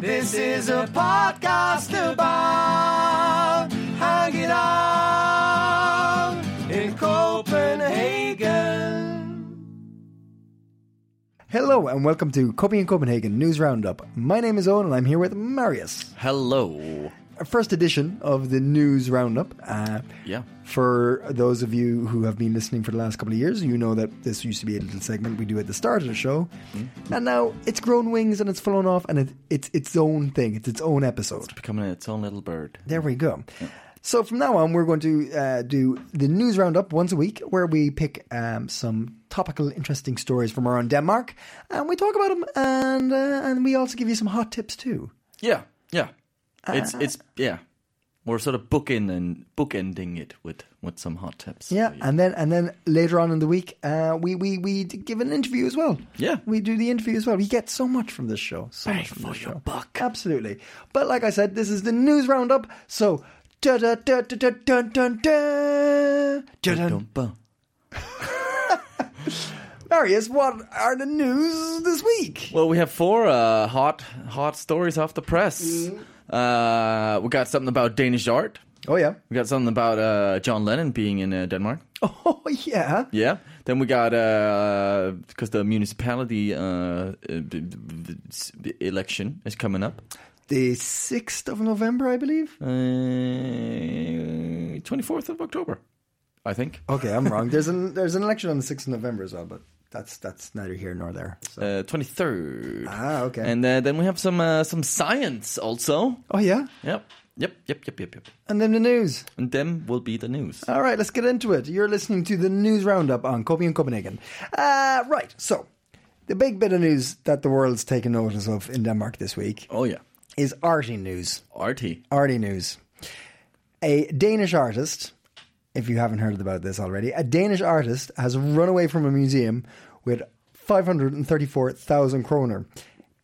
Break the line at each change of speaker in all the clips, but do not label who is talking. This is a podcast about hanging out in Copenhagen.
Hello and welcome to Copy in Copenhagen News Roundup. My name is Owen and I'm here with Marius.
Hello.
Our first edition of the News Roundup. Uh,
Yeah.
For those of you who have been listening for the last couple of years, you know that this used to be a little segment we do at the start of the show. And now it's grown wings and it's flown off and it, it's its own thing. It's its own episode.
Becoming its own little bird.
There we go. So from now on, we're going to uh, do the news roundup once a week, where we pick um, some topical, interesting stories from around Denmark, and we talk about them, and uh, and we also give you some hot tips too.
Yeah. Yeah. It's
Uh.
it's yeah. We're sort of bookend and bookending it with with some hot tips.
Yeah,
for you.
and then and then later on in the week, uh, we we we d- give an interview as well.
Yeah.
we do the interview as well. We get so much from this show. So much from
for
this
your
show.
buck.
absolutely. But like I said, this is the news roundup. So. Da da da da da da da da da.
Dum-dum-bum.
Marius, what are the news this week?
Well, we have four uh, hot hot stories off the press.
Mm-hmm.
Uh, we got something about Danish art.
Oh yeah.
We got something about uh, John Lennon being in uh, Denmark.
Oh yeah.
Yeah. Then we got because the municipality uh, uh, b- b- b- election is coming up.
The sixth of November, I believe.
twenty fourth Uh, of October, I think.
Okay, I'm wrong. There's an there's an election on the sixth of November as well, but that's that's neither here nor there. So.
Twenty third.
Ah, okay.
Uh, And uh, then we have some uh, some science also.
oh yeah.
Yep. Yep. Yep. Yep. Yep. Yep.
And then the news.
And them will be the news.
All right, let's get into it. You're listening to the news roundup on Kobe and Copenhagen. Uh, right. So, the big bit of news that the world's taken notice of in Denmark this week
oh yeah.
is Artie news.
Artie.
Artie news. A Danish artist, if you haven't heard about this already, a Danish artist has run away from a museum with 534,000 kroner,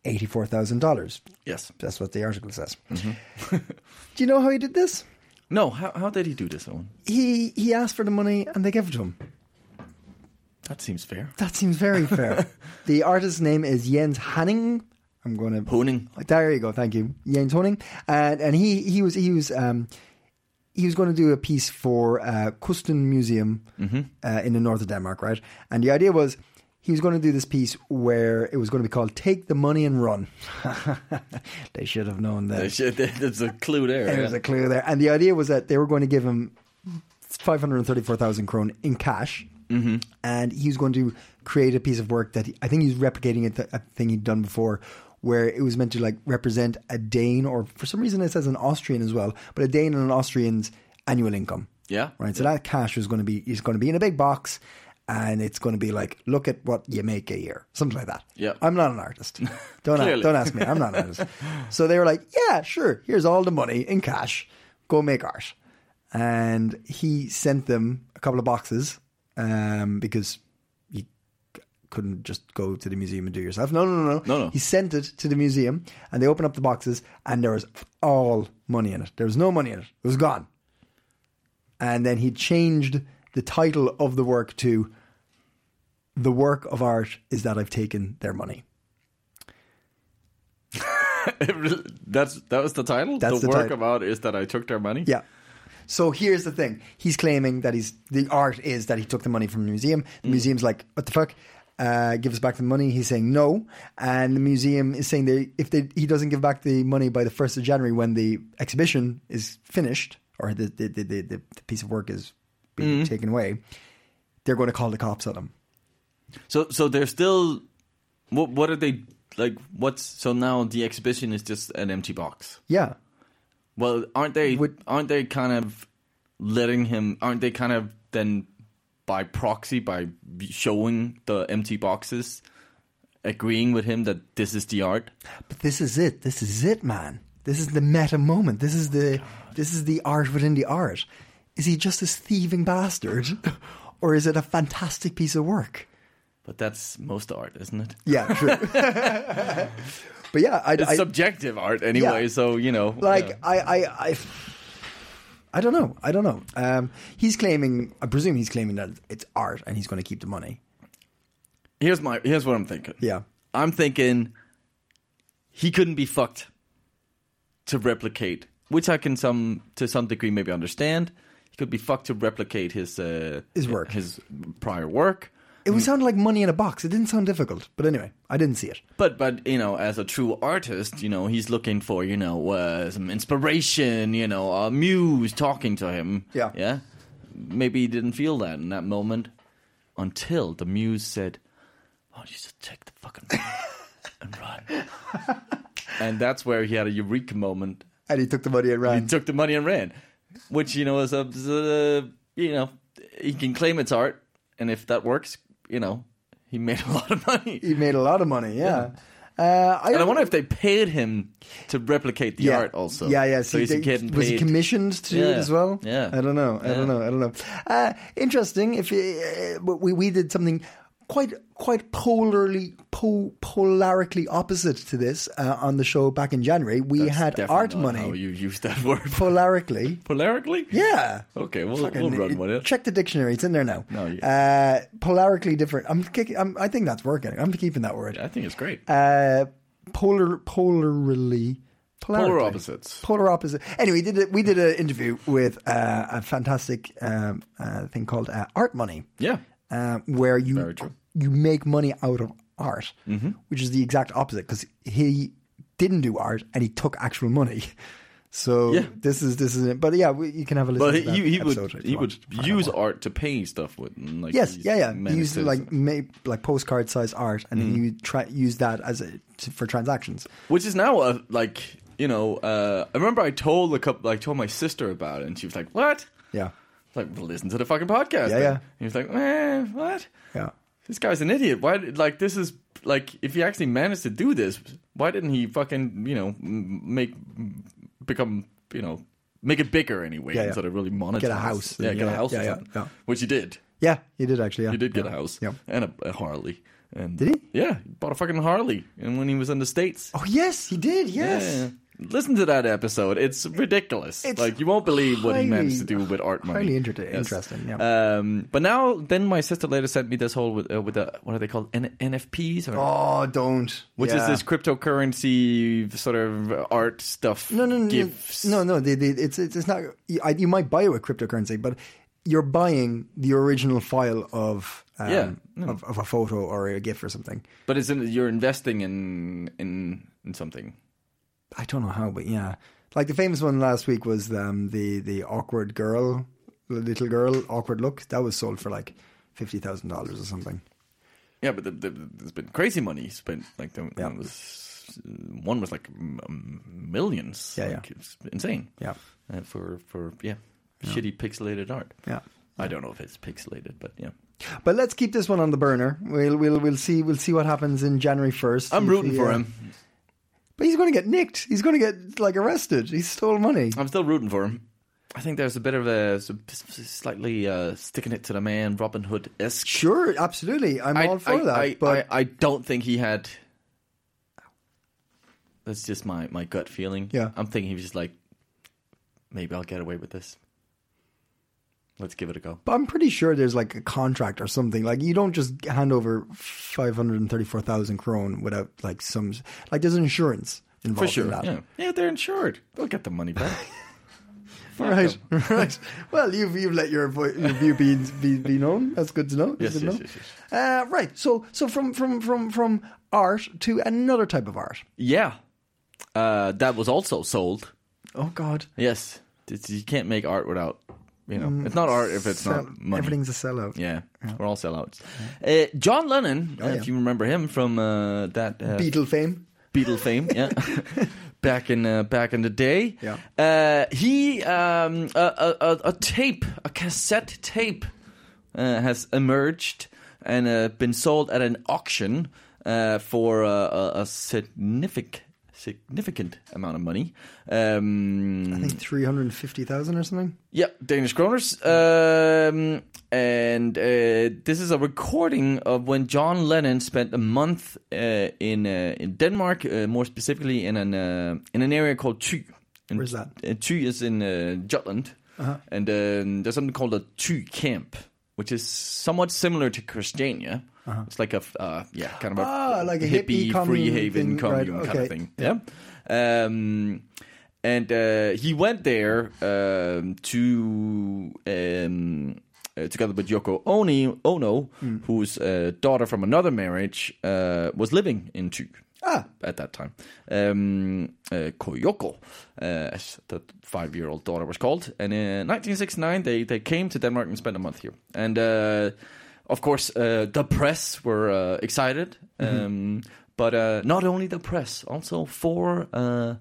$84,000.
Yes.
That's what the article says. Do you know how he did this?
No. How how did he do this, Owen?
He he asked for the money and they gave it to him.
That seems fair.
That seems very fair. the artist's name is Jens Hanning. I'm going to
Honing.
There you go. Thank you, Jens Honing. And and he he was he was um he was going to do a piece for uh, Kusten Museum uh, in the north of Denmark, right? And the idea was he was going to do this piece where it was going to be called "Take the Money and Run." they should have known that.
There's a clue there.
There's
yeah.
a clue there. And the idea was that they were going to give him 534,000 krone in cash. Mm-hmm. And he was going to create a piece of work that he, I think he's replicating it, a thing he'd done before, where it was meant to like represent a Dane, or for some reason it says an Austrian as well, but a Dane and an Austrian's annual income.
Yeah.
Right. So that cash is going to be is going to be in a big box, and it's going to be like, look at what you make a year, something like that.
Yeah.
I'm not an artist. Don't ask,
Clearly.
don't ask me. I'm not an artist. so they were like, yeah, sure. Here's all the money in cash. Go make art. And he sent them a couple of boxes um, because you couldn't just go to the museum and do it yourself. No, no, no, no.
No, no.
He sent it to the museum and they opened up the boxes and there was all money in it. There was no money in it. It was gone and then he changed the title of the work to "The work of art is that I've taken their money."
That's that was the title.
That's the
the, work
title.
about is that I took their money.
Yeah. So here's the thing: he's claiming that he's the art is that he took the money from the museum. The museum's like, "What the fuck? Uh, give us back the money." He's saying no, and the museum is saying they if they, he doesn't give back the money by the first of January when the exhibition is finished or the the the, the, the piece of work is being taken away, they're going to call the cops on him.
So so they're still. What what are they like? What's so now? The exhibition is just an empty box.
Yeah.
Well, aren't they?
Would-
aren't they kind of letting him? Aren't they kind of then by proxy by showing the empty boxes, agreeing with him that this is the art?
But this is it. This is it, man. This is the meta moment. This is the this is the art within the art. Is he just this thieving bastard, or is it a fantastic piece of work?
But that's most art, isn't it?
Yeah, true. but yeah, I,
It's
I
subjective art anyway,
Yeah.
so you know,
like
yeah.
I, I I I don't know. I don't know. Um, he's claiming. I presume he's claiming that it's art, and he's going to keep the money.
here's my here's what I'm thinking.
Yeah.
I'm thinking he couldn't be fucked to replicate, which I can some to some degree maybe understand. He could be fucked to replicate his uh,
His work.
his prior work.
It would sound like money in a box. It didn't sound difficult, but anyway, I didn't see it.
But but you know, as a true artist, you know he's looking for you know uh, some inspiration, you know a muse talking to him.
Yeah.
yeah. Maybe he didn't feel that in that moment until the muse said, "Why don't you just take the fucking and run?" and that's where he had a eureka moment.
And he took the money and
He
ran.
took the money and ran, which you know is a, is a you know he can claim it's art, and if that works, you know he made a lot of money.
he made a lot of money. Yeah. Uh, I
And I
don't-
wonder if they paid him to replicate the
yeah.
art also.
Yeah, yeah.
So
see,
he's
they-
getting
was he
paid.
commissioned to do it
Yeah.
as well?
Yeah.
I don't know. I don't
Yeah.
know. I don't know. Uh, interesting. If uh, but we we did something quite quite polarly po- polarically opposite to this uh, on the show back in January. We
That's
had
definitely
art
not How
money
you use that word
polarically.
polarically?
Yeah.
Okay, we'll,
Fucking-
we'll run with it.
Check the dictionary; it's in there now.
No, you-
uh, polarically different. I'm, kick- I'm. I think that's working. I'm keeping that word.
I think it's great.
uh, polar polarly polarity.
Polar opposites.
polar opposite anyway we did a, we did an interview with uh, a fantastic um, uh, thing called uh, art money
Yeah.
uh, where you
Very true. Mm-hmm.
you make money out of art which is the exact opposite because he didn't do art and he took actual money so
Yeah.
this is this is it but yeah we, you can have a listen
But
to that
he, he
episode if
would he
you
would
want.
use art to pay stuff with. and, Like
Yes,
he's
yeah, yeah. He
managed
used
to-
like ma- like postcard size art, and
Mm-hmm.
then you try use that as a, to, for transactions.
which is now a like you know uh, I remember I told a couple like told my sister about it and she was like what
Yeah,
like listen to the fucking podcast
Yeah,
then."
yeah.
and he was like eh, what
yeah.
this guy's an idiot. Why? did- Like this is like if he actually managed to do this, why didn't he fucking you know m- make m- become you know make it bigger anyway
Yeah, yeah.
instead of really monetize?
house.
Yeah, get a
Yeah,
house.
yeah,
or
yeah,
something.
yeah.
Which he did.
Yeah, he did actually. Yeah.
He did get
yeah.
a house.
Yeah.
and a, a Harley. And
Did he?
Yeah, he bought a fucking Harley. And when he was in the states,
Oh yes, he did. Yes.
Yeah. Listen to that episode. It's ridiculous.
It's
like you won't believe what he
highly-
managed to do with art money.
highly inter- interesting,
Yeah. Um, but now, then my sister later sent me this whole with, uh, with the what are they called N- NFPs or.
Oh, don't.
Which
Yeah.
is this cryptocurrency sort of art stuff?
No, no, no,
gifts.
no, no. They, they, it's, it's it's not. You, I, you might buy a cryptocurrency, but you're buying the original file of um,
Yeah, Mm. no.
of, of a photo or a GIF or something.
But it's in, you're investing in in in something.
I don't know how, but yeah. Like the famous one last week was um, the the awkward girl, little girl, awkward look. That was sold for like fifty thousand dollars or something.
Yeah, but the, the, there's been crazy money spent. Like the,
Yeah.
one was one was like m- m- millions.
Yeah,
like
yeah.
It's insane.
Yeah.
uh, for for yeah, shitty pixelated art.
Yeah.
I don't know if it's pixelated, but yeah,
But let's keep this one on the burner. We'll we'll we'll see we'll see what happens in January first. uh,
I'm rooting for him.
But he's going to get nicked. He's going to get like arrested. He stole money.
I'm still rooting for him. I think there's a bit of a s- s- slightly uh, sticking it to the man, Robin Hood esque.
Sure, absolutely. I'm all for that.
I,
but
I, I don't think he had. That's just my, my gut feeling.
Yeah.
I'm thinking he was just like, maybe I'll get away with this. Let's give it a go.
but I'm pretty sure there's like a contract or something. Like you don't just hand over five hundred and thirty-four thousand krone without like some like there's insurance involved in that.
Yeah. yeah, they're insured. They'll get the money back. Fuck
Right,
them.
right. Well, you've you've let your, vo- your view be, be be known. That's good to know. Good
Yes,
to
yes,
know.
yes, yes.
Uh, right. So so from from from from art to another type of art.
Yeah. Uh, that was also sold.
Oh God.
Yes. It's- you can't make art without, you know, it's not art if it's
Mm, Sell-
not money.
Everything's a sellout.
Yeah, we're all sellouts. Uh, John Lennon, uh,
Oh, yeah.
if you remember him from uh, that uh,
Beatle fame.
Beatle fame, yeah, back in uh, back in the day.
Yeah.
Uh, he um, a, a, a, a tape, a cassette tape, uh, has emerged and uh, been sold at an auction uh, for uh, a, a significant significant amount of money. Um,
I think 350,000 or something.
Yep, Danish Kroners. Um, and uh, this is a recording of when John Lennon spent a month uh, in uh, in Denmark, uh, more specifically in an uh, in an area called Thy. And,
Where's that? Uh-huh.
Uh, Thy is in uh, Jutland, and um, there's something called a Thy camp, which is somewhat similar to Christiania.
Uh-huh.
It's like a f- uh, yeah, kind of a
Ah, like a hippie
hippie, free
commune
haven
thing,
commune
right,
kind of
okay.
thing. Yeah. Um, and uh, he went there um, to um, uh, together with Yoko Oni, Ono,
Hmm.
whose uh, daughter from another marriage uh, was living in Thy
Ah.
at that time. Um, uh, Koyoko, uh, as the five-year-old daughter was called, and in 1969 they they came to Denmark and spent a month here. And uh, of course, uh, the press were uh, excited, um, but uh, not only the press, also four uh,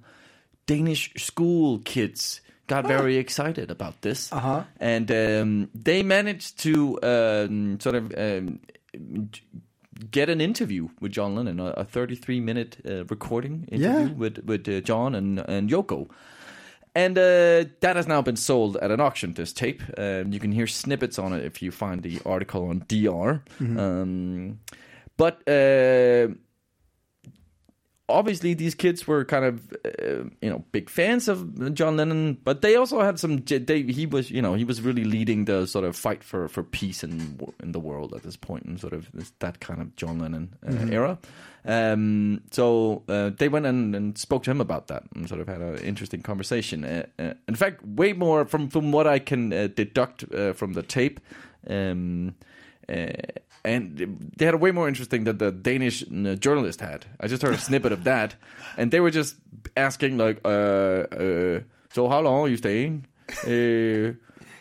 Danish school kids got very excited about this,
Oh. Uh-huh.
and um, they managed to um, sort of. Um, get an interview with John Lennon, a 33 minute uh, recording interview
Yeah.
with with uh, John and and Yoko. And uh, that has now been sold at an auction. This tape, um, you can hear snippets on it if you find the article on DR.
Mm-hmm.
Um, but uh, obviously, these kids were kind of uh, you know big fans of John Lennon, but they also had some. j- They, he was you know he was really leading the sort of fight for for peace in in the world at this point, and sort of this, that kind of John Lennon uh, era. Um, so uh, they went and, and spoke to him about that, and sort of had an interesting conversation. Uh, uh, in fact, way more from from what I can uh, deduct uh, from the tape. Um, uh, and they had a way more interesting that the Danish uh, journalist had. I just heard a snippet of that, and they were just asking like, uh, uh, "So how long are you staying? Uh,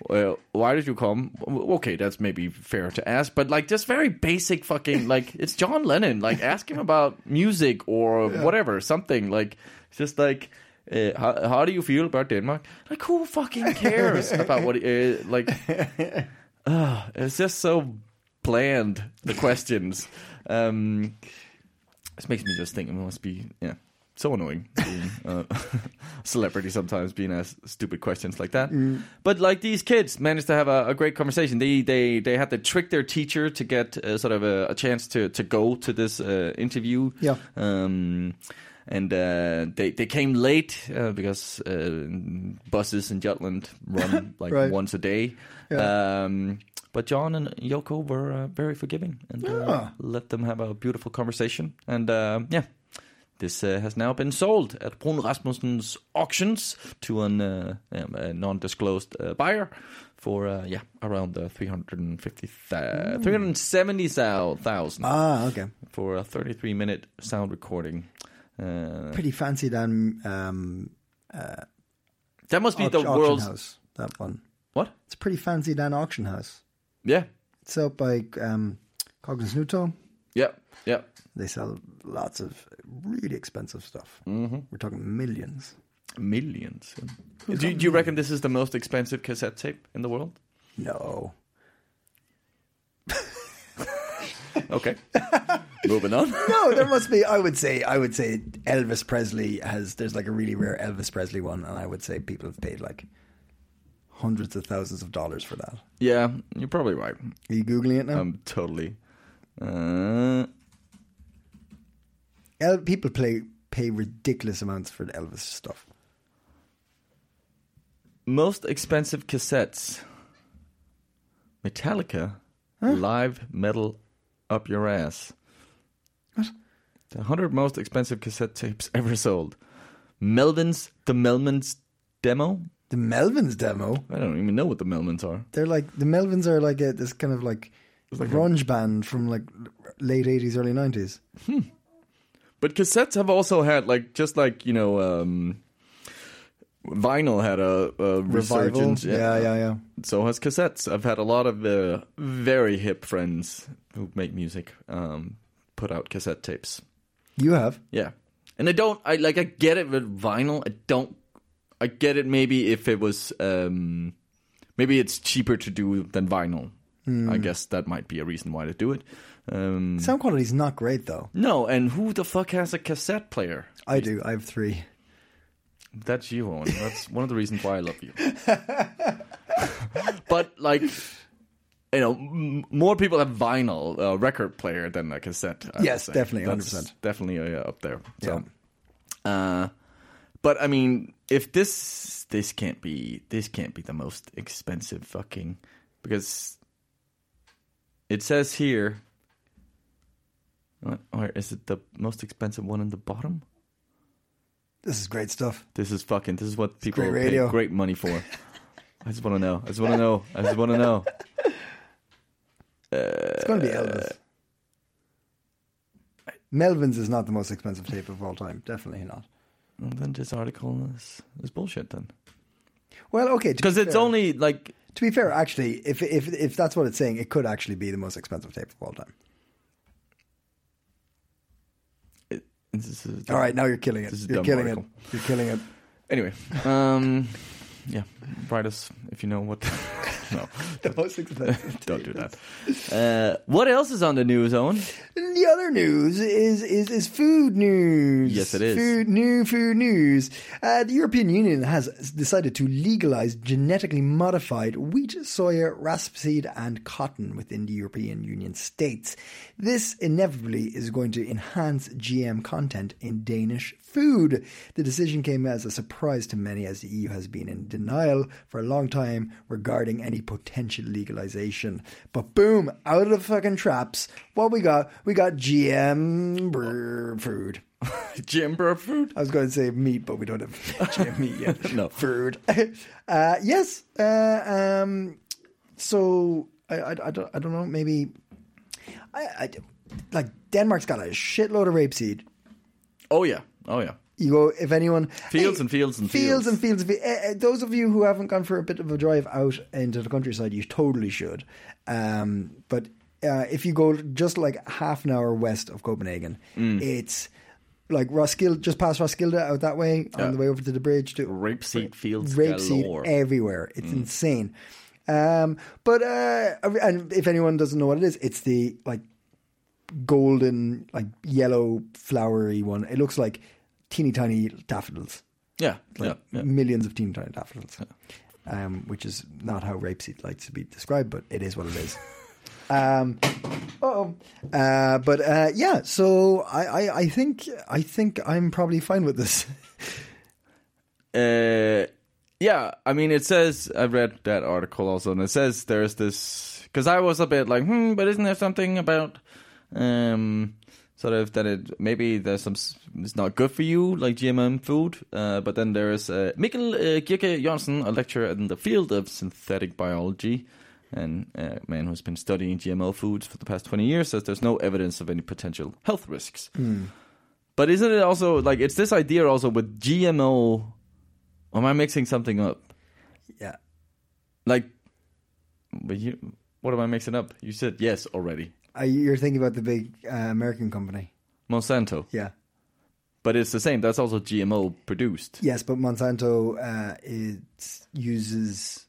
well, why did you come? W- Okay, that's maybe fair to ask, but like just very basic fucking like it's John Lennon. Like ask him about music or whatever, something like it's just like." Uh, how, how do you feel about Denmark? Like, who fucking cares about what? Uh, like, it's just so bland the questions. Um, this makes me just think it must be yeah so annoying being uh, celebrity sometimes being asked stupid questions like that. But like these kids managed to have a, a great conversation. They they they had to trick their teacher to get uh, sort of a, a chance to to go to this uh, interview.
Yeah.
Um, and uh, they they came late uh, because uh, buses in Jutland run like
Right.
once a day. Um, but John and Yoko were uh, very forgiving and uh,
Yeah.
let them have a beautiful conversation. And uh, yeah, this uh, has now been sold at Brun Rasmussen's auctions to an, uh, um, a non-disclosed uh, buyer for uh, yeah around uh, 350 370,000
Mm. Ah, okay.
for a 33-minute sound recording. Uh,
Pretty fancy than um,
that must be
auct-
the
auction
world's
house. That one.
what?
It's pretty fancy than auction house.
Yeah,
It's out by um, Coggins Newton.
yeah, yeah.
They sell lots of really expensive stuff. We're talking millions.
Millions. Do, do you reckon this is the most expensive cassette tape in the world?
No.
Okay. Moving on.
No, there must be. I would say. I would say Elvis Presley has. There's like a really rare Elvis Presley one, and I would say people have paid like hundreds of thousands of dollars for that.
Yeah, you're probably right.
Are you googling it now?
I'm totally. Uh,
El- people play pay ridiculous amounts for the Elvis stuff.
most expensive cassettes Metallica, live metal up your ass. What? The 100 most expensive cassette tapes ever sold. Melvins, the Melvins demo?
The Melvins demo.
I don't even know what the Melvins are.
They're like the Melvins are like a, this kind of like, grunge band from like late eighties, early nineties.
But cassettes have also had like just like you know, um, vinyl had a, a
Revival.
resurgence.
Yeah, yeah, yeah.
So has cassettes. I've had a lot of uh, very hip friends who make music um, put out cassette tapes.
You have.
Yeah, And I don't, I like, I get it with vinyl. I don't, I get it maybe if it was, um, maybe it's cheaper to do than vinyl.
Hmm.
I guess that might be a reason why they do it. Um,
Sound quality's not great though.
no, and who the fuck has a cassette player?
I do. I have three.
That's you, Owen. That's one of the reasons why I love you. but like, you know, m- more people have vinyl uh, record player than a cassette. I would
Yes,
say.
definitely,
That's
100%.
definitely uh, up there.
Yeah.
So, uh, but I mean, if this this can't be this can't be the most expensive fucking because it says here. Or is it the most expensive one in the bottom?
This is great stuff.
This is fucking. This is what people
great
pay
radio.
great money for. I just want to know. I just want to know. I just want to know.
It's going to be
Uh,
Elvis. Melvin's is not the most expensive tape of all time. Definitely not.
And then this article is, is bullshit then,
Well, okay. to be
because it's
fair-
only like
To be fair, actually, if if if that's what it's saying, it could actually be the most expensive tape of all time.
it, this is-
All right, now you're killing it.
This is a
You're
dumb
killing
article.
it. You're killing it.
Anyway, um, yeah, write us if you know what. no,
The most expensive.
don't do that. Uh, what else is on the news, Owen?
the other news is is is food news.
Yes, it is.
Food new food news. Uh, the European Union has decided to legalize genetically modified wheat, soya, rapeseed, and cotton within the European Union states. This inevitably is going to enhance GM content in Danish food. The decision came as a surprise to many, as the EU has been in denial for a long time regarding any potential legalization. But boom, out of the fucking traps, what we got? We got GM brr, food.
Jim Burford.
I was going to say meat, but we don't have GM meat yet.
No.
food. uh, yes. Uh, um, so I, I, I don't I don't know. Maybe I, I like Denmark's got a shitload of rapeseed.
Oh yeah, oh yeah.
You go if anyone
Fields and fields and
fields
fields.
and fields. and fi- eh, eh, those of you who haven't gone for a bit of a drive out into the countryside, you totally should. Um, but uh, if you go just like half an hour west of Copenhagen,
Mm.
it's like Roskilde, just past Roskilde, out that way on the way over to the bridge to
Rapeseed fields
rapeseed
galore.
everywhere. It's
Mm.
insane. Um, but uh, and if anyone doesn't know what it is, it's the like golden, like yellow, flowery one. It looks like teeny tiny daffodils,
yeah, yeah,
like
yeah.
millions of teeny tiny daffodils, um, which is not how rapeseed likes to be described, but it is what it is. um, oh, uh, but uh, yeah. So I, I, I think I think I'm probably fine with this.
uh, yeah, I mean, it says I read that article also, and it says there's this because I was a bit like, hmm, but isn't there something about um, sort of that it maybe there's some s- it's not good for you like GMM food, uh, but then there's uh, Mikkel uh, Kirke Johnsen, a lecturer in the field of synthetic biology. And a man who's been studying GMO foods for the past 20 years says there's no evidence of any potential health risks. But isn't it also like it's this idea also with GMO? Or am I mixing something up?
yeah.
Like, but you, what am I mixing up? You said yes already,
Uh, you're thinking about the big uh, American company.
Monsanto.
Yeah.
But it's the same. That's also GMO produced.
Yes, but Monsanto uh, it uses.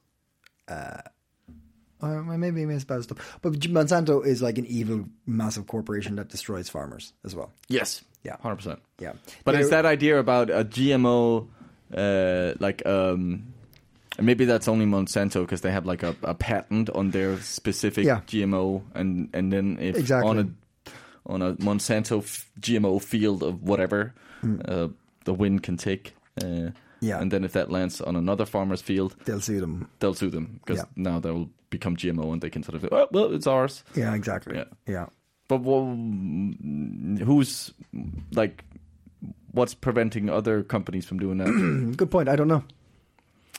Uh, or maybe I misspelled stuff. But Monsanto is like an evil, massive corporation that destroys farmers as well.
Yes.
Yeah.
Hundred percent.
Yeah.
But it's
They're-
that idea about a GMO, uh, like um, and maybe that's only Monsanto because they have like a, a patent on their specific
Yeah.
GMO, and and then if
Exactly.
on a on a Monsanto f- GMO field of whatever, uh, the wind can take. Uh,
Mm. Yeah.
And then if that lands on another farmer's field,
They'll sue them.
they'll sue them because
Yeah.
now they'll become GMO and they can sort of oh, well it's ours.
Yeah, exactly.
Yeah.
Yeah.
But wha- who's like, what's preventing other companies from doing that?
Good point. I don't know.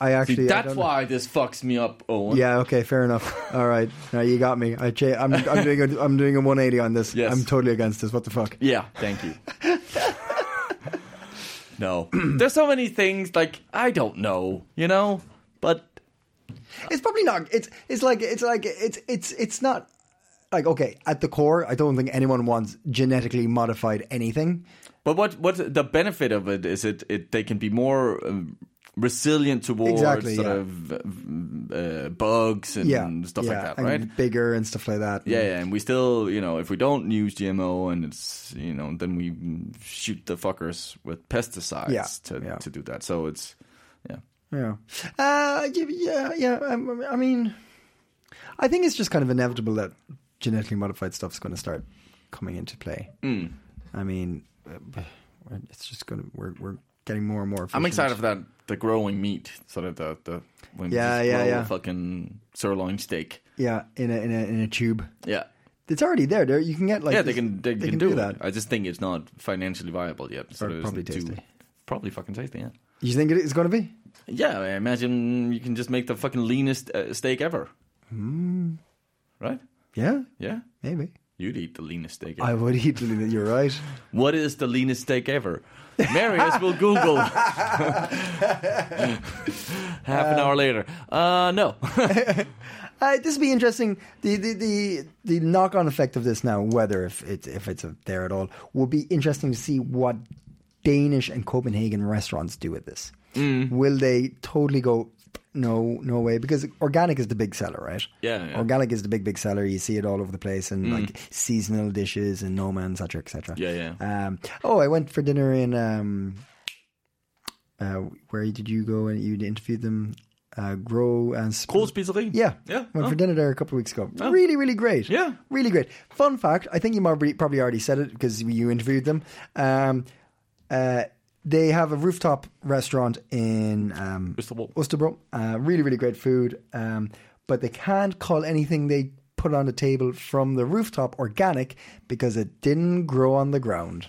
I actually. I
That's
don't
why this fucks me up, Owen.
Yeah. Okay. Fair enough. All right. Now you got me. I cha- I'm, I'm doing. A, I'm doing a 180 on this.
Yes.
I'm totally against this. What the fuck?
Yeah, thank you. no, there's so many things like I don't know, you know, but
It's probably not. It's it's like it's like it's it's it's not like okay, at the core, I don't think anyone wants genetically modified anything.
But what what the benefit of it is it, it they can be more um, resilient towards
Exactly,
sort
yeah.
of uh, bugs and
Yeah,
stuff
yeah,
like that,
and
right?
Bigger and stuff like that.
Yeah, yeah, and we still, you know, if we don't use GMO and it's, you know, then we shoot the fuckers with pesticides
Yeah,
to
yeah.
to do that. So it's, yeah,
Yeah. Uh, yeah, yeah, yeah. um, I mean, I think it's just kind of inevitable that genetically modified stuff's going to start coming into play.
Mm.
I mean, uh, it's just going to, we're, we're getting more and more.
I'm
efficient.
excited for that. The growing meat, sort of the the when we
Yeah,
just
yeah,
grow
yeah.
fucking sirloin steak.
Yeah, in a, in a, in a tube.
Yeah,
It's already there. there you can get like.
yeah, they
this-
can they, can, do, that. I just think it's not financially viable yet. So
Or
it's
probably
too-
tasty.
Probably fucking tasty. Yeah.
You think it is going to be?
Yeah, I imagine you can just make the fucking leanest uh, steak ever.
Mm.
Right?
Yeah,
Yeah.
maybe.
You'd eat the leanest steak ever.
I would eat. You're right.
What is the leanest steak ever? Marius will Google. Half an hour later. Uh, no.
Uh, this would be interesting. The, the the the knock-on effect of this now, whether if it's if it's there at all, will be interesting to see what Danish and Copenhagen restaurants do with this.
Mm.
Will they totally go? No, no way. Because organic is the big seller, right?
Yeah, yeah. Mm.
Organic is the big big seller. You see it all over the place, and like seasonal dishes and no man, etc., etc.
Yeah, yeah.
Um, oh, I went for dinner in. Um, uh, where did you go? And you interviewed them. Uh, grow and Sp-
Cool pizzeria.
yeah.
Yeah.
Went
Oh.
for dinner there a couple of weeks ago. Really, really great.
Yeah.
Really great. Fun fact I think you probably, probably already said it because you interviewed them. Um, uh, they have a rooftop restaurant in um,
Østerbro.
Østerbro. Uh, really, really great food. Um, but they can't call anything they put on the table from the rooftop organic because it didn't grow on the ground.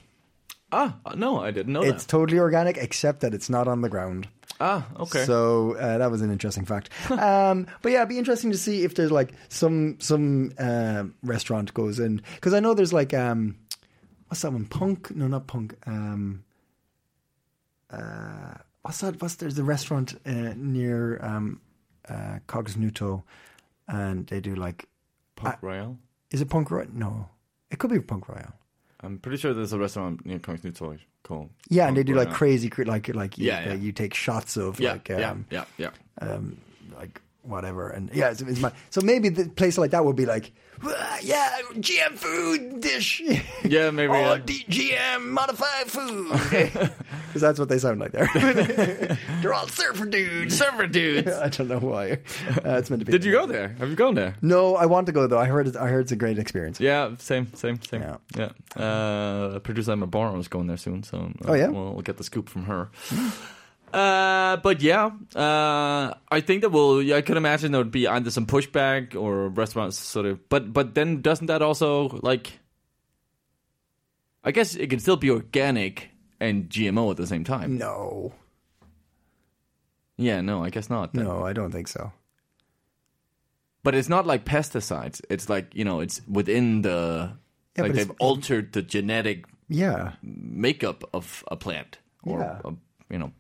Ah, no, I didn't know
It's totally organic, except that it's not on the ground.
that. Ah, okay.
So uh, that was an interesting fact. um, but yeah, it'd be interesting to see if there's like some some uh, restaurant goes in because I know there's like um, what's that one? Punk? No, not punk. Um, uh, what's that? What's there's a restaurant uh, near um, uh, Cognuto, and they do like
Punk Royale.
is it Punk Royal? No, it could be Punk Royal.
I'm pretty sure there's a restaurant near Kongsnytorg called.
Yeah,
Punk
and they do like
Royale.
crazy, cr- like like you,
Yeah, yeah.
like, you take shots of
Yeah,
like um,
yeah, yeah, yeah.
like whatever and yeah it's, it's my so maybe the place like that would be like "Wah, yeah gm food dish
Yeah, maybe, uh,
or
yeah.
D- gm modified food because that's what they sound like there they're all surfer dudes
Server dudes.
i don't know why uh, it's meant to be
Did you go there? Have you gone there?
no i want to go though i heard it, i heard it's a great experience
Yeah, same, same, same.
Yeah.
Yeah. Uh, producer Emma Barrow is going there soon, so uh,
Oh, yeah? Mm.
we'll, we'll get the scoop from her. Uh, but yeah, uh, I think that will. Yeah, I could imagine there would be either some pushback or restaurants sort of. But but then doesn't that also like? I guess it can still be organic and GMO at the same time.
Mm. no
Yeah, no, I guess not. then.
no i don't think so
But it's not like pesticides. It's like you know, it's within the
Yeah,
like
but it's-
they've altered the genetic
yeah
makeup of a plant or
Yeah.
a, you know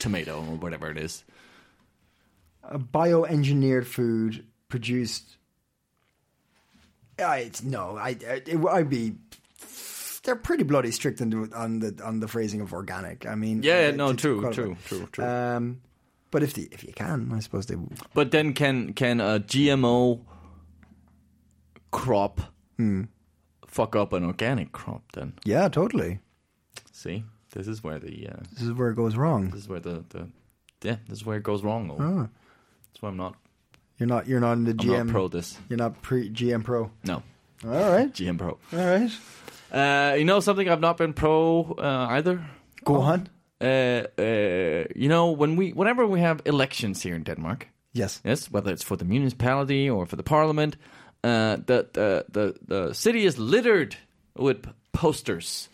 tomato or whatever it is.
a bioengineered food produced. I, it's no, I, I it, I'd be. They're pretty bloody strict on the on the, on the phrasing of organic. I mean,
Yeah,
uh,
no,
to- to
true,
qualify.
true, true, true.
Um, but if the, if you can, I suppose they. would.
but then can can a GMO crop fuck up an organic crop? Then
Yeah, totally.
see, this is where the uh,
This is where it goes wrong.
this is where the, the yeah this is where it goes wrong. Or, That's why I'm not
You're not you're not in the
I'm
GM
not pro this.
You're not pre GM pro.
No,
All right,
GM pro.
all right.
Uh, you know something I've not been pro uh, either.
Go on.
Uh, uh, you know when we whenever we have elections here in Denmark.
Yes.
Yes, whether it's for the municipality or for the parliament, uh, the, the the the city is littered with posters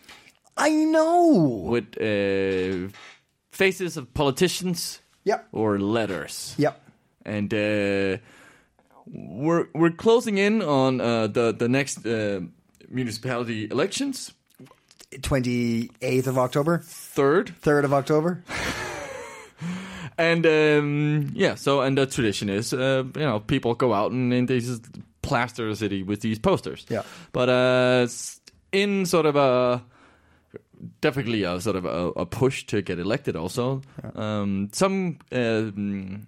I know.
with uh, faces of politicians
Yep.
or letters.
Yep.
and uh, we're we're closing in on uh, the the next uh, municipality elections,
Twenty eighth of October,
third,
third of October.
and um, yeah. So and the tradition is, uh, you know, people go out and, and they just plaster the city with these posters.
Yeah.
But uh, s- in sort of a definitely a sort of a, a push to get elected. Also, um, some. um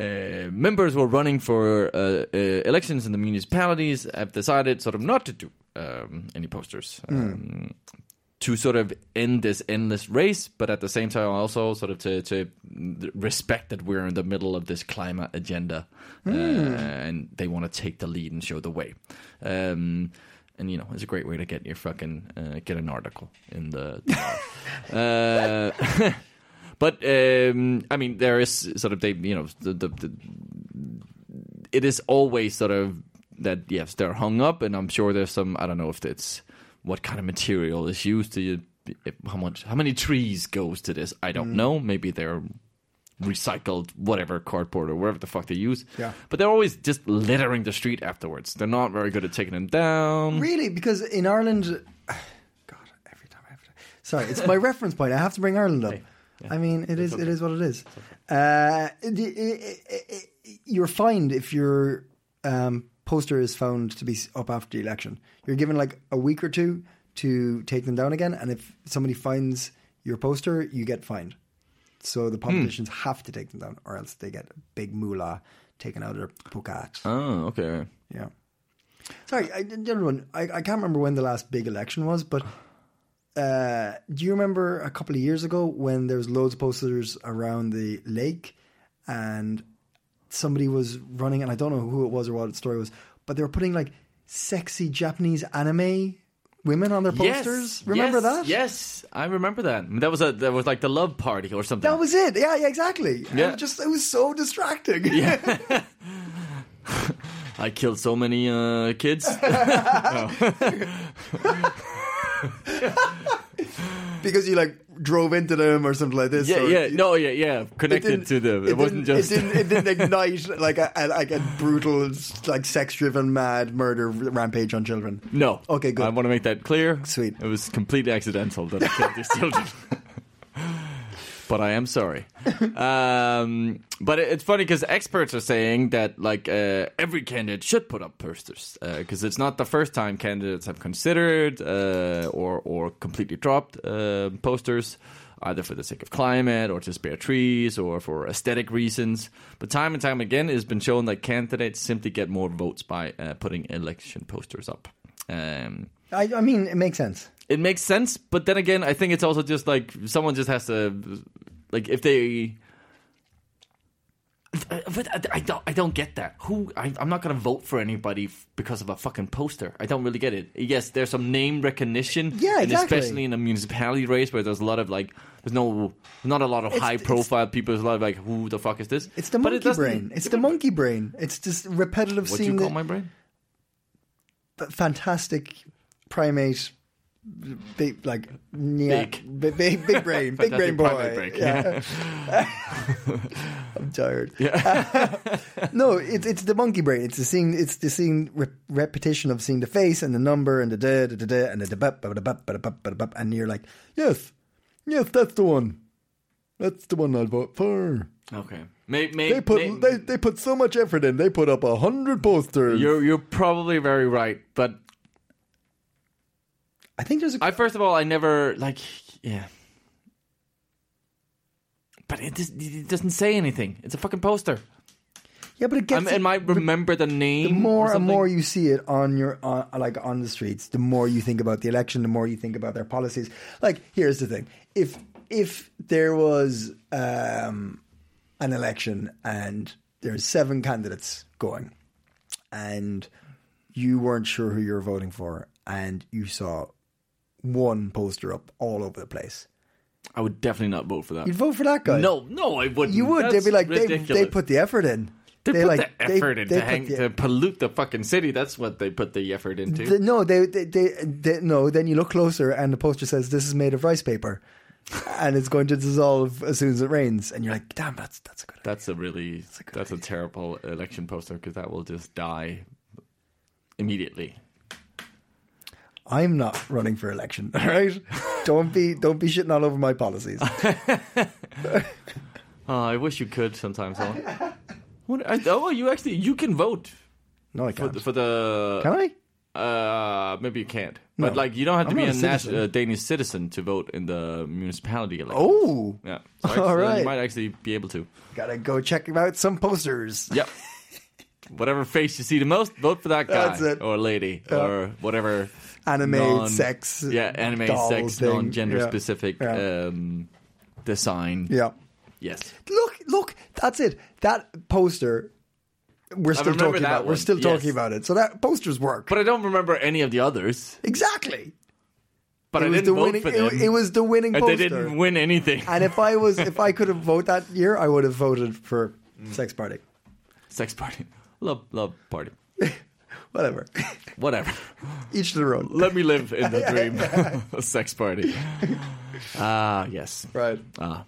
uh, members who are running for uh, uh, elections in the municipalities have decided sort of not to do um, any posters um, to sort of end this endless race, but at the same time also sort of to, to respect that we're in the middle of this climate agenda uh, and they want to take the lead and show the way. Um, and you know, it's a great way to get your fucking uh, get an article in the. uh, But um, I mean, there is sort of they, you know, the, the, the it is always sort of that yes, they're hung up, and I'm sure there's some I don't know if it's what kind of material is used to you, how much how many trees goes to this. I
Mm.
don't know. Maybe they're recycled whatever cardboard or whatever the fuck they use.
Yeah.
But they're always just littering the street afterwards. They're not very good at taking them down.
Really, because in Ireland, God, every time, every time. Sorry, it's my reference point. I have to bring Ireland up. I mean, it is it is what it is. Uh, it- it- it- it- you're fined if your um, poster is found to be s- up after the election. You're given like a week or two to take them down again, and if somebody finds your poster, you get fined. So the politicians have to take them down, or else they get a big moolah taken out of their pocket.
Oh, okay.
Yeah. Sorry, I, the other one. I, I can't remember when the last big election was, but uh, do you remember a couple of years ago when there was loads of posters around the lake and somebody was running, and I don't know who it was or what the story was, but they were putting like sexy Japanese anime women on their posters.
Yes,
remember
yes,
that?
Yes, I remember that. That was a that was like the love party or something.
That was it. Yeah, yeah, exactly. And
Yeah.
it just it was so distracting.
I killed so many uh, kids.
because you like drove into them or something like this.
yeah,
or
yeah, no, yeah, yeah. Connected to
didn't-
them. It, wasn't
didn't-
just.
It didn't, it didn't ignite like a, a like a brutal, like sex-driven, mad murder rampage on children.
no.
Okay, good.
I want to make that clear.
Sweet.
It was completely accidental that I killed these children. but I am sorry. Um, but it, it's funny because experts are saying that like uh, every candidate should put up posters because it's not the first time candidates have considered uh, or or completely dropped uh, posters. Either for the sake of climate, or to spare trees, or for aesthetic reasons. But time and time again, it's been shown that candidates simply get more votes by uh, putting election posters up. Um,
I, I mean, it makes sense.
it makes sense, but then again, I think it's also just like someone just has to, like, if they. But I- I don't. I don't get that. Who? I, I'm not gonna vote for anybody f- because of a fucking poster. I don't really get it. Yes, there's some name recognition.
Yeah,
And
exactly.
especially in a municipality race where there's a lot of like, there's no, not a lot of high profile people. There's a lot of like, who the fuck is this?
It's the
But it
monkey
doesn't-
brain. It's the monkey brain. It's just repetitive
What do
seeing
you call
the
my brain?
the fantastic primate, big like yeah,
Big.
big, big, big brain, big brain boy.
Fantastic primate break.
Yeah. I'm tired. Uh, no, it's it's the monkey brain. It's the seeing it's the seeing re- repetition of seeing the face and the number and the da da da da and the da bup, ba da bup, ba da bup, ba da bup, and you're like, yes, yes, that's the one. That's the one I'd vote for.
Okay. May, may,
They put
may-
they, they put so much effort in. They put up a hundred posters.
you're you're probably very right, but
I think there's a
I first of all, I never like, yeah. But it, just, it doesn't say anything. It's a fucking poster.
yeah, but it
I
gets
m- it might remember the name.
the more
or
and
something.
more you see it on your on, like on the streets, the more you think about the election, the more you think about their policies. Like here's the thing: if if there was um, an election and there's seven candidates going, and you weren't sure who you were voting for, and you saw one poster up all over the place,
I would definitely not vote for that.
you'd vote for that guy.
no, no, I wouldn't.
you would.
That's
They'd be like, they,
ridiculous.
they put the effort in.
They put
like
the effort in to,
put
hang,
the-
to pollute the fucking city. That's what they put the effort into.
The- no, they, they, they, they, no. Then you look closer, and the poster says, "This is made of rice paper, and it's going to dissolve as soon as it rains." And you're like, "Damn, that's that's a good." idea.
that's a really that's a,
good
terrible election poster because that will just die immediately.
I'm not running for election. All right, don't be don't be shitting all over my policies.
Oh, I wish you could sometimes. Alan. what, I, oh, you actually you can vote.
No, I
for
can't.
the, for the
Can I?
Uh, maybe you can't. But
No.
like, you don't have to
I'm
be
not
a,
a
nas-
citizen.
uh, Danish citizen to vote in the municipality election.
Oh,
yeah.
All
So actually,
right.
You might actually be able to.
gotta go check out some posters.
Yep. whatever face you see the most, vote for that guy
That's it.
or lady or whatever.
Anime,
non-
sex,
Yeah, anime,
doll
sex,
thing.
non-gender
Yeah.
specific
Yeah.
um, design.
Yeah.
Yes.
Look, look, that's it. That poster. We're still
remember
talking
that
about. We're
one,
still
yes.
talking about it. So that posters work.
But I don't remember any of the others.
exactly.
But I
was
didn't
the
vote
winning-
for
it wa-
them.
it was the winning
And They
poster.
didn't win anything.
And if I was, if I could have voted that year, I would have voted for
Mm.
Sex Party.
Sex party, love, love party,
Whatever.
whatever.
Each their own.
Let me live in the dream. A sex party. Ah, yes.
Right.
Ah,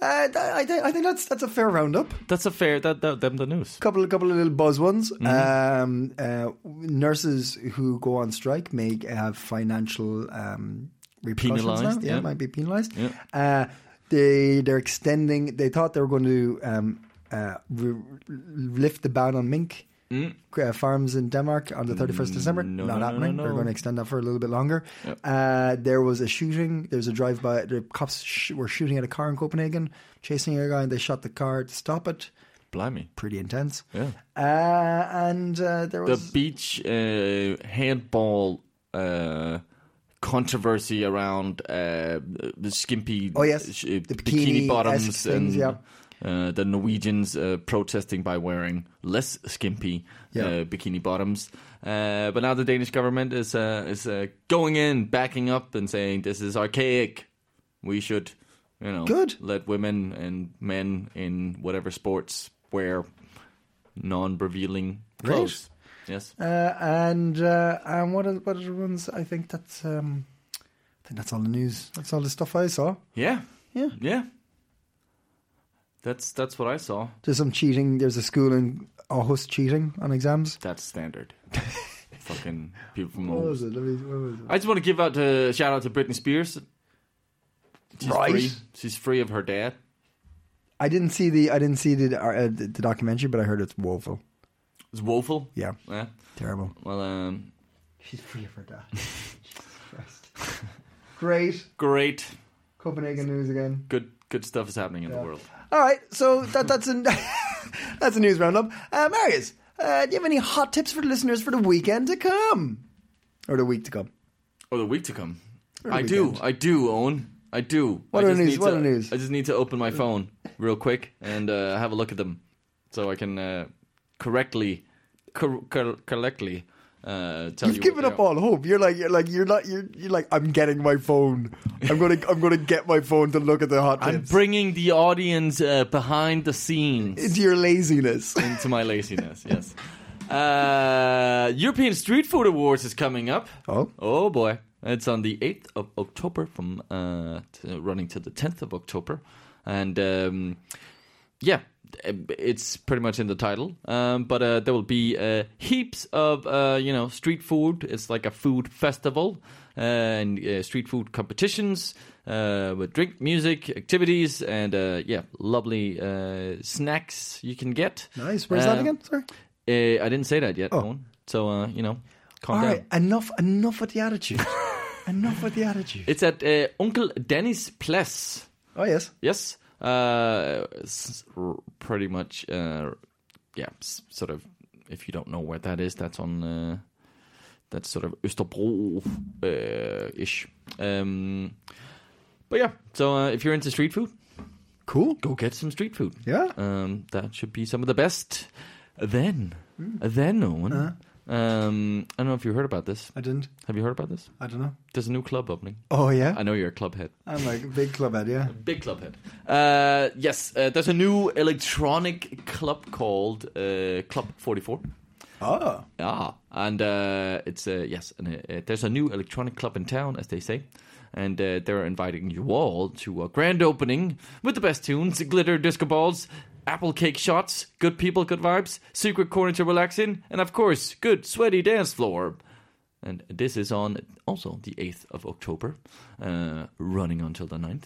Uh, th- I, thi- I think that's that's a fair roundup.
that's a fair. That, that them the news.
Couple of couple of little buzz ones.
Mm-hmm.
Um, uh, nurses who go on strike may have financial um, repercussions
Penalised,
now. Yeah,
yeah.
might be penalised.
Yeah.
Uh, they they're extending. They thought they were going to um, uh, re- lift the ban on mink. Uh, farms in Denmark on the 31st of December.
Mm. no,
Not
no, no,
happening.
no,
They're
no.
going to extend that for a little bit longer. Uh, there was a shooting. There's a drive by. The cops sh- were shooting at a car in Copenhagen, chasing a guy, and they shot the car to stop it
Blimey.
pretty intense.
Yeah.
Uh, and uh, there
The
was
beach uh, handball uh, controversy around uh, the skimpy
Oh, yes.
sh- uh,
The
bikini,
bikini-esque
bottoms
things,
and
yeah.
uh, the Norwegians uh, protesting by wearing less skimpy
Yeah.
uh, bikini bottoms. Uh, but now the Danish government is uh, is uh, going in, backing up, and saying this is archaic. We should, you know,
Good.
let women and men in whatever sports wear non-revealing
Great.
clothes. Yes.
uh, and uh, and what are, what are the ones? I think that's um, I think that's all the news. That's all the stuff I saw.
Yeah.
Yeah.
Yeah. That's that's what I saw.
There's some cheating. There's a school in Aarhus cheating on exams.
That's standard. Fucking people from
What
all.
was it? Let me- what was it?
I just want to give out a shout out to Britney Spears. She's
Right.
Free. She's free of her dad.
I didn't see the I didn't see the uh, the, the documentary, but I heard it's woeful.
It's woeful.
Yeah,
Yeah.
terrible.
Well, um,
She's free of her dad. Great
great.
Copenhagen news again.
Good good stuff is happening in the world.
All right, so that, that's an that's a news roundup. Uh, Marius, uh, do you have any hot tips for the listeners for the weekend to come or the week to come?
Or the week to come.
the
I do.
weekend.
I do own. I do.
What
I
are
just
news?
Need
What
to,
are news?
I just need to open my phone real quick and uh, have a look at them, so I can uh, correctly, cor- cor- correctly uh, tell
You've
you.
given
what
up
they are.
all hope. You're like you're like you're not you're, you're like I'm getting my phone. I'm gonna I'm gonna get my phone to look at the hot
I'm
tips.
bringing the audience uh, behind the scenes
it's your laziness.
into my laziness. Yes. Uh, European Street Food Awards is coming up.
Oh.
Oh boy. It's on the 8th of October from uh, to running to the 10th of October. And um, yeah, it's pretty much in the title. Um, but uh, there will be uh, heaps of, uh, you know, street food. It's like a food festival uh, and uh, street food competitions uh, with drink, music, activities, and uh, yeah, lovely uh, snacks you can get.
nice. Where's that
Uh,
again? Sorry.
uh, I didn't say that yet.
Oh.
Owen. So, uh, you know, calm
All
down.
right. Enough. Enough with the attitude. enough with the attitude.
It's at uh, Uncle Dennis Pless.
oh yes.
Yes. Uh, s- r- pretty much, uh, yeah, s- sort of, if you don't know where that is, that's on, uh, that's sort of Østerbro-ish. Um, but yeah, so uh, if you're into street food,
Cool.
go get some street food.
Yeah.
Um, that should be some of the best. Then,
Hmm.
then, Owen, um, I don't know if you heard about this.
Uh-huh. I didn't.
Have you heard about this?
I don't know.
There's a new club opening.
Oh
I
yeah.
know you're a club head.
I'm like a big club head. Yeah.
Big club head. Uh, yes, uh, there's a new electronic club called uh, Club 44.
Oh.
Ah, and uh, it's uh, yes, and uh, uh, there's a new electronic club in town, as they say, and uh, they're inviting you all to a grand opening with the best tunes, glitter disco balls, apple cake shots, good people, good vibes, secret corner to relax in, and of course, good sweaty dance floor. And this is on also the 8th of October, uh, running until the 9th.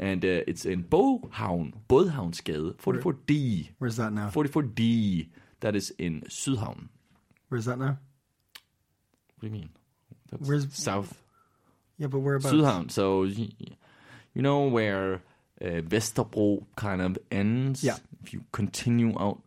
And uh, it's in Boghavn, Bodhavnsgade 44D.
Where's that now?
44D, that is in Sydhavn.
Where's that now?
What do you mean? That's
Where's-
south
Yeah, but whereabouts?
Sudhavn? So y- you know where uh, Vesterbro kind of ends.
Yeah.
If you continue out.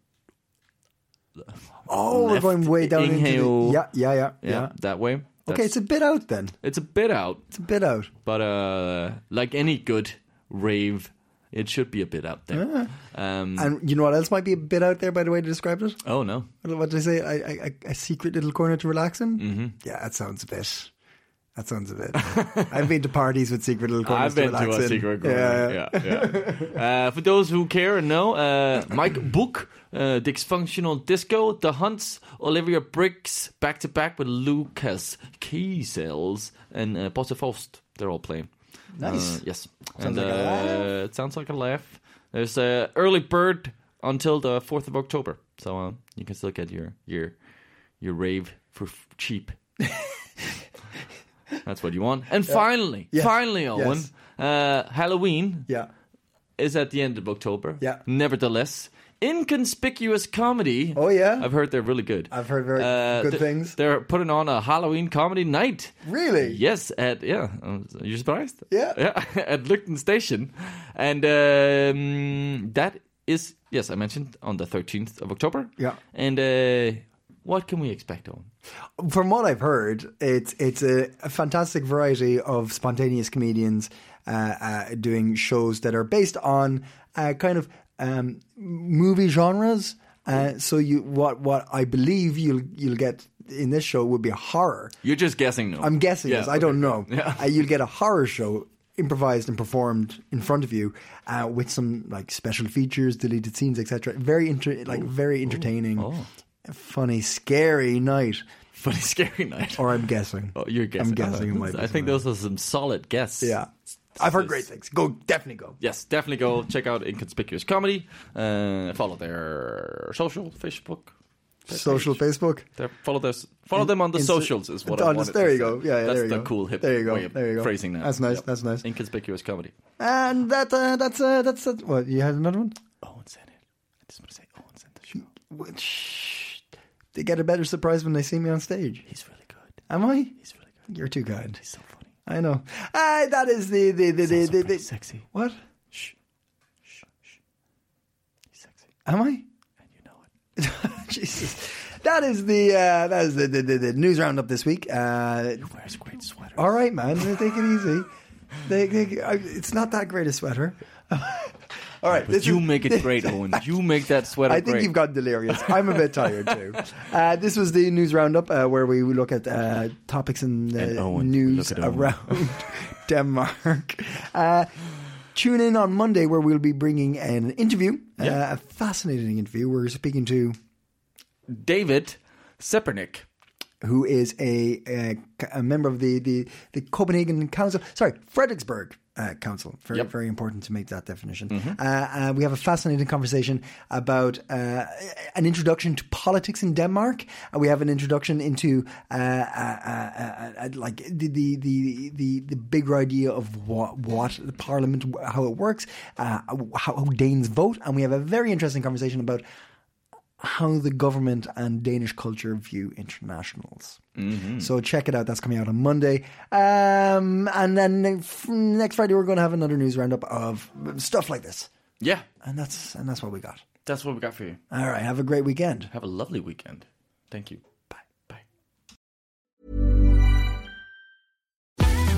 Oh,
Left,
we're going way down into
inhale.
the, yeah, yeah, yeah, yeah.
Yeah, that way.
Okay,
That's-
it's a bit out then.
it's a bit out,
It's a bit out.
but uh, like any good rave, it should be a bit out there.
Ah.
Um,
And you know what else might be a bit out there by the way they described it?
oh no,
What what did I say? I, I, I- a secret little corner to relax in? Mm-hmm. Yeah, that sounds a bit. That sounds a bit. I've been to parties with secret little corners
I've been
to
to
relax
a
in.
secret
Yeah,
corner. Yeah, yeah. uh, for those who care and know, uh, Mike Book, uh, Dysfunctional Disco, The Hunts, Olivia Bricks, back to back with Lucas Kiesels and uh, Bosse Faust. They're all playing.
Nice.
Uh, yes.
Sounds
and,
like a
uh, It sounds like a laugh. There's a early bird until the 4th of October. So um, you can still get your your your rave for f- cheap. That's what you want. And finally,
Yes.
finally, Owen,
Yes.
uh, Halloween
yeah.
is at the end of October.
Yeah.
Nevertheless, inconspicuous comedy.
Oh, yeah?
I've heard they're really good. Uh,
I've heard very good
th-
things.
They're putting on a Halloween comedy night.
Really?
Yes, at yeah. um, Are you surprised?
Yeah.
Yeah, at Luton Station, and um, that is yes, I mentioned on the thirteenth of October.
Yeah.
And uh, what can we expect, Owen?
From what I've heard, it's it's a, a fantastic variety of spontaneous comedians uh, uh, doing shows that are based on uh, kind of um, movie genres. Uh, so you what what I believe you'll you'll get in this show would be a horror.
You're just guessing now.
I'm guessing
Yeah,
yes. I
okay.
don't know.
Yeah.
Uh, you'll get a horror show improvised and performed in front of you uh, with some like special features, deleted scenes, etc. Very inter- like very entertaining,
Oh.
funny, scary night.
Funny, scary night.
Or I'm guessing.
Oh, you're guessing.
I'm guessing it might be
I think those are some solid guesses.
Yeah. I've heard great things. Go, definitely go.
Yes, definitely go check out Inconspicuous Comedy. Uh, follow their social Facebook.
Social Facebook.
Their, follow their, follow them on the
Insta-
socials is what I
on-
wanted
There
to
you
say.
go. Yeah, yeah,
that's
there you
the
go.
cool hip
There you go.
way of
there you go.
phrasing that.
That's nice.
Yep.
That's nice.
Inconspicuous Comedy.
And that uh, that's uh, that's uh, what you had another one.
Owen said it. I just want to say Owen said the show.
Which they get a better surprise when they see me on stage.
He's really good.
Am I?
He's really good.
You're too kind.
He's so funny.
I know. Ah, that is the the the the,
He's
the,
also
the
pretty sexy.
what?
Shh. Shh. Shh. He's sexy.
Am I?
And you know it.
Jesus. That is the uh, that is the, the, the, the news roundup this week. Uh,
Wears great sweater.
all right, man, take it easy. They, they, I, it's not that great a sweater. all right,
But
this
you
is-
make it great, Owen. You make that sweater
I think
great.
you've got delirious. I'm a bit tired too. Uh, this was the news roundup uh, where we look at uh, topics in
And
the
Owen.
news
Look at Owen.
around Denmark. Uh, tune in on Monday where we'll be bringing an interview, uh, a fascinating interview. We're speaking to
David Sepernik.
who is a, a, a member of the, the, the Copenhagen Council, sorry, Frederiksberg uh, Council. Very,
Yep.
very important to make that definition. Uh, uh, we have a fascinating conversation about uh, an introduction to politics in Denmark. And we have an introduction into uh, uh, uh, uh, uh, like the, the, the, the, the bigger idea of what, what the parliament, how it works, uh, how, how Danes vote. And we have a very interesting conversation about how the government and Danish culture view internationals. So check it out. That's coming out on Monday. Um, and then ne- f- next Friday, we're going to have another news roundup of stuff like this.
Yeah,
And that's and that's what we got.
that's what we got for you.
All right. Have a great weekend.
Have a lovely weekend. Thank you. Bye. Bye.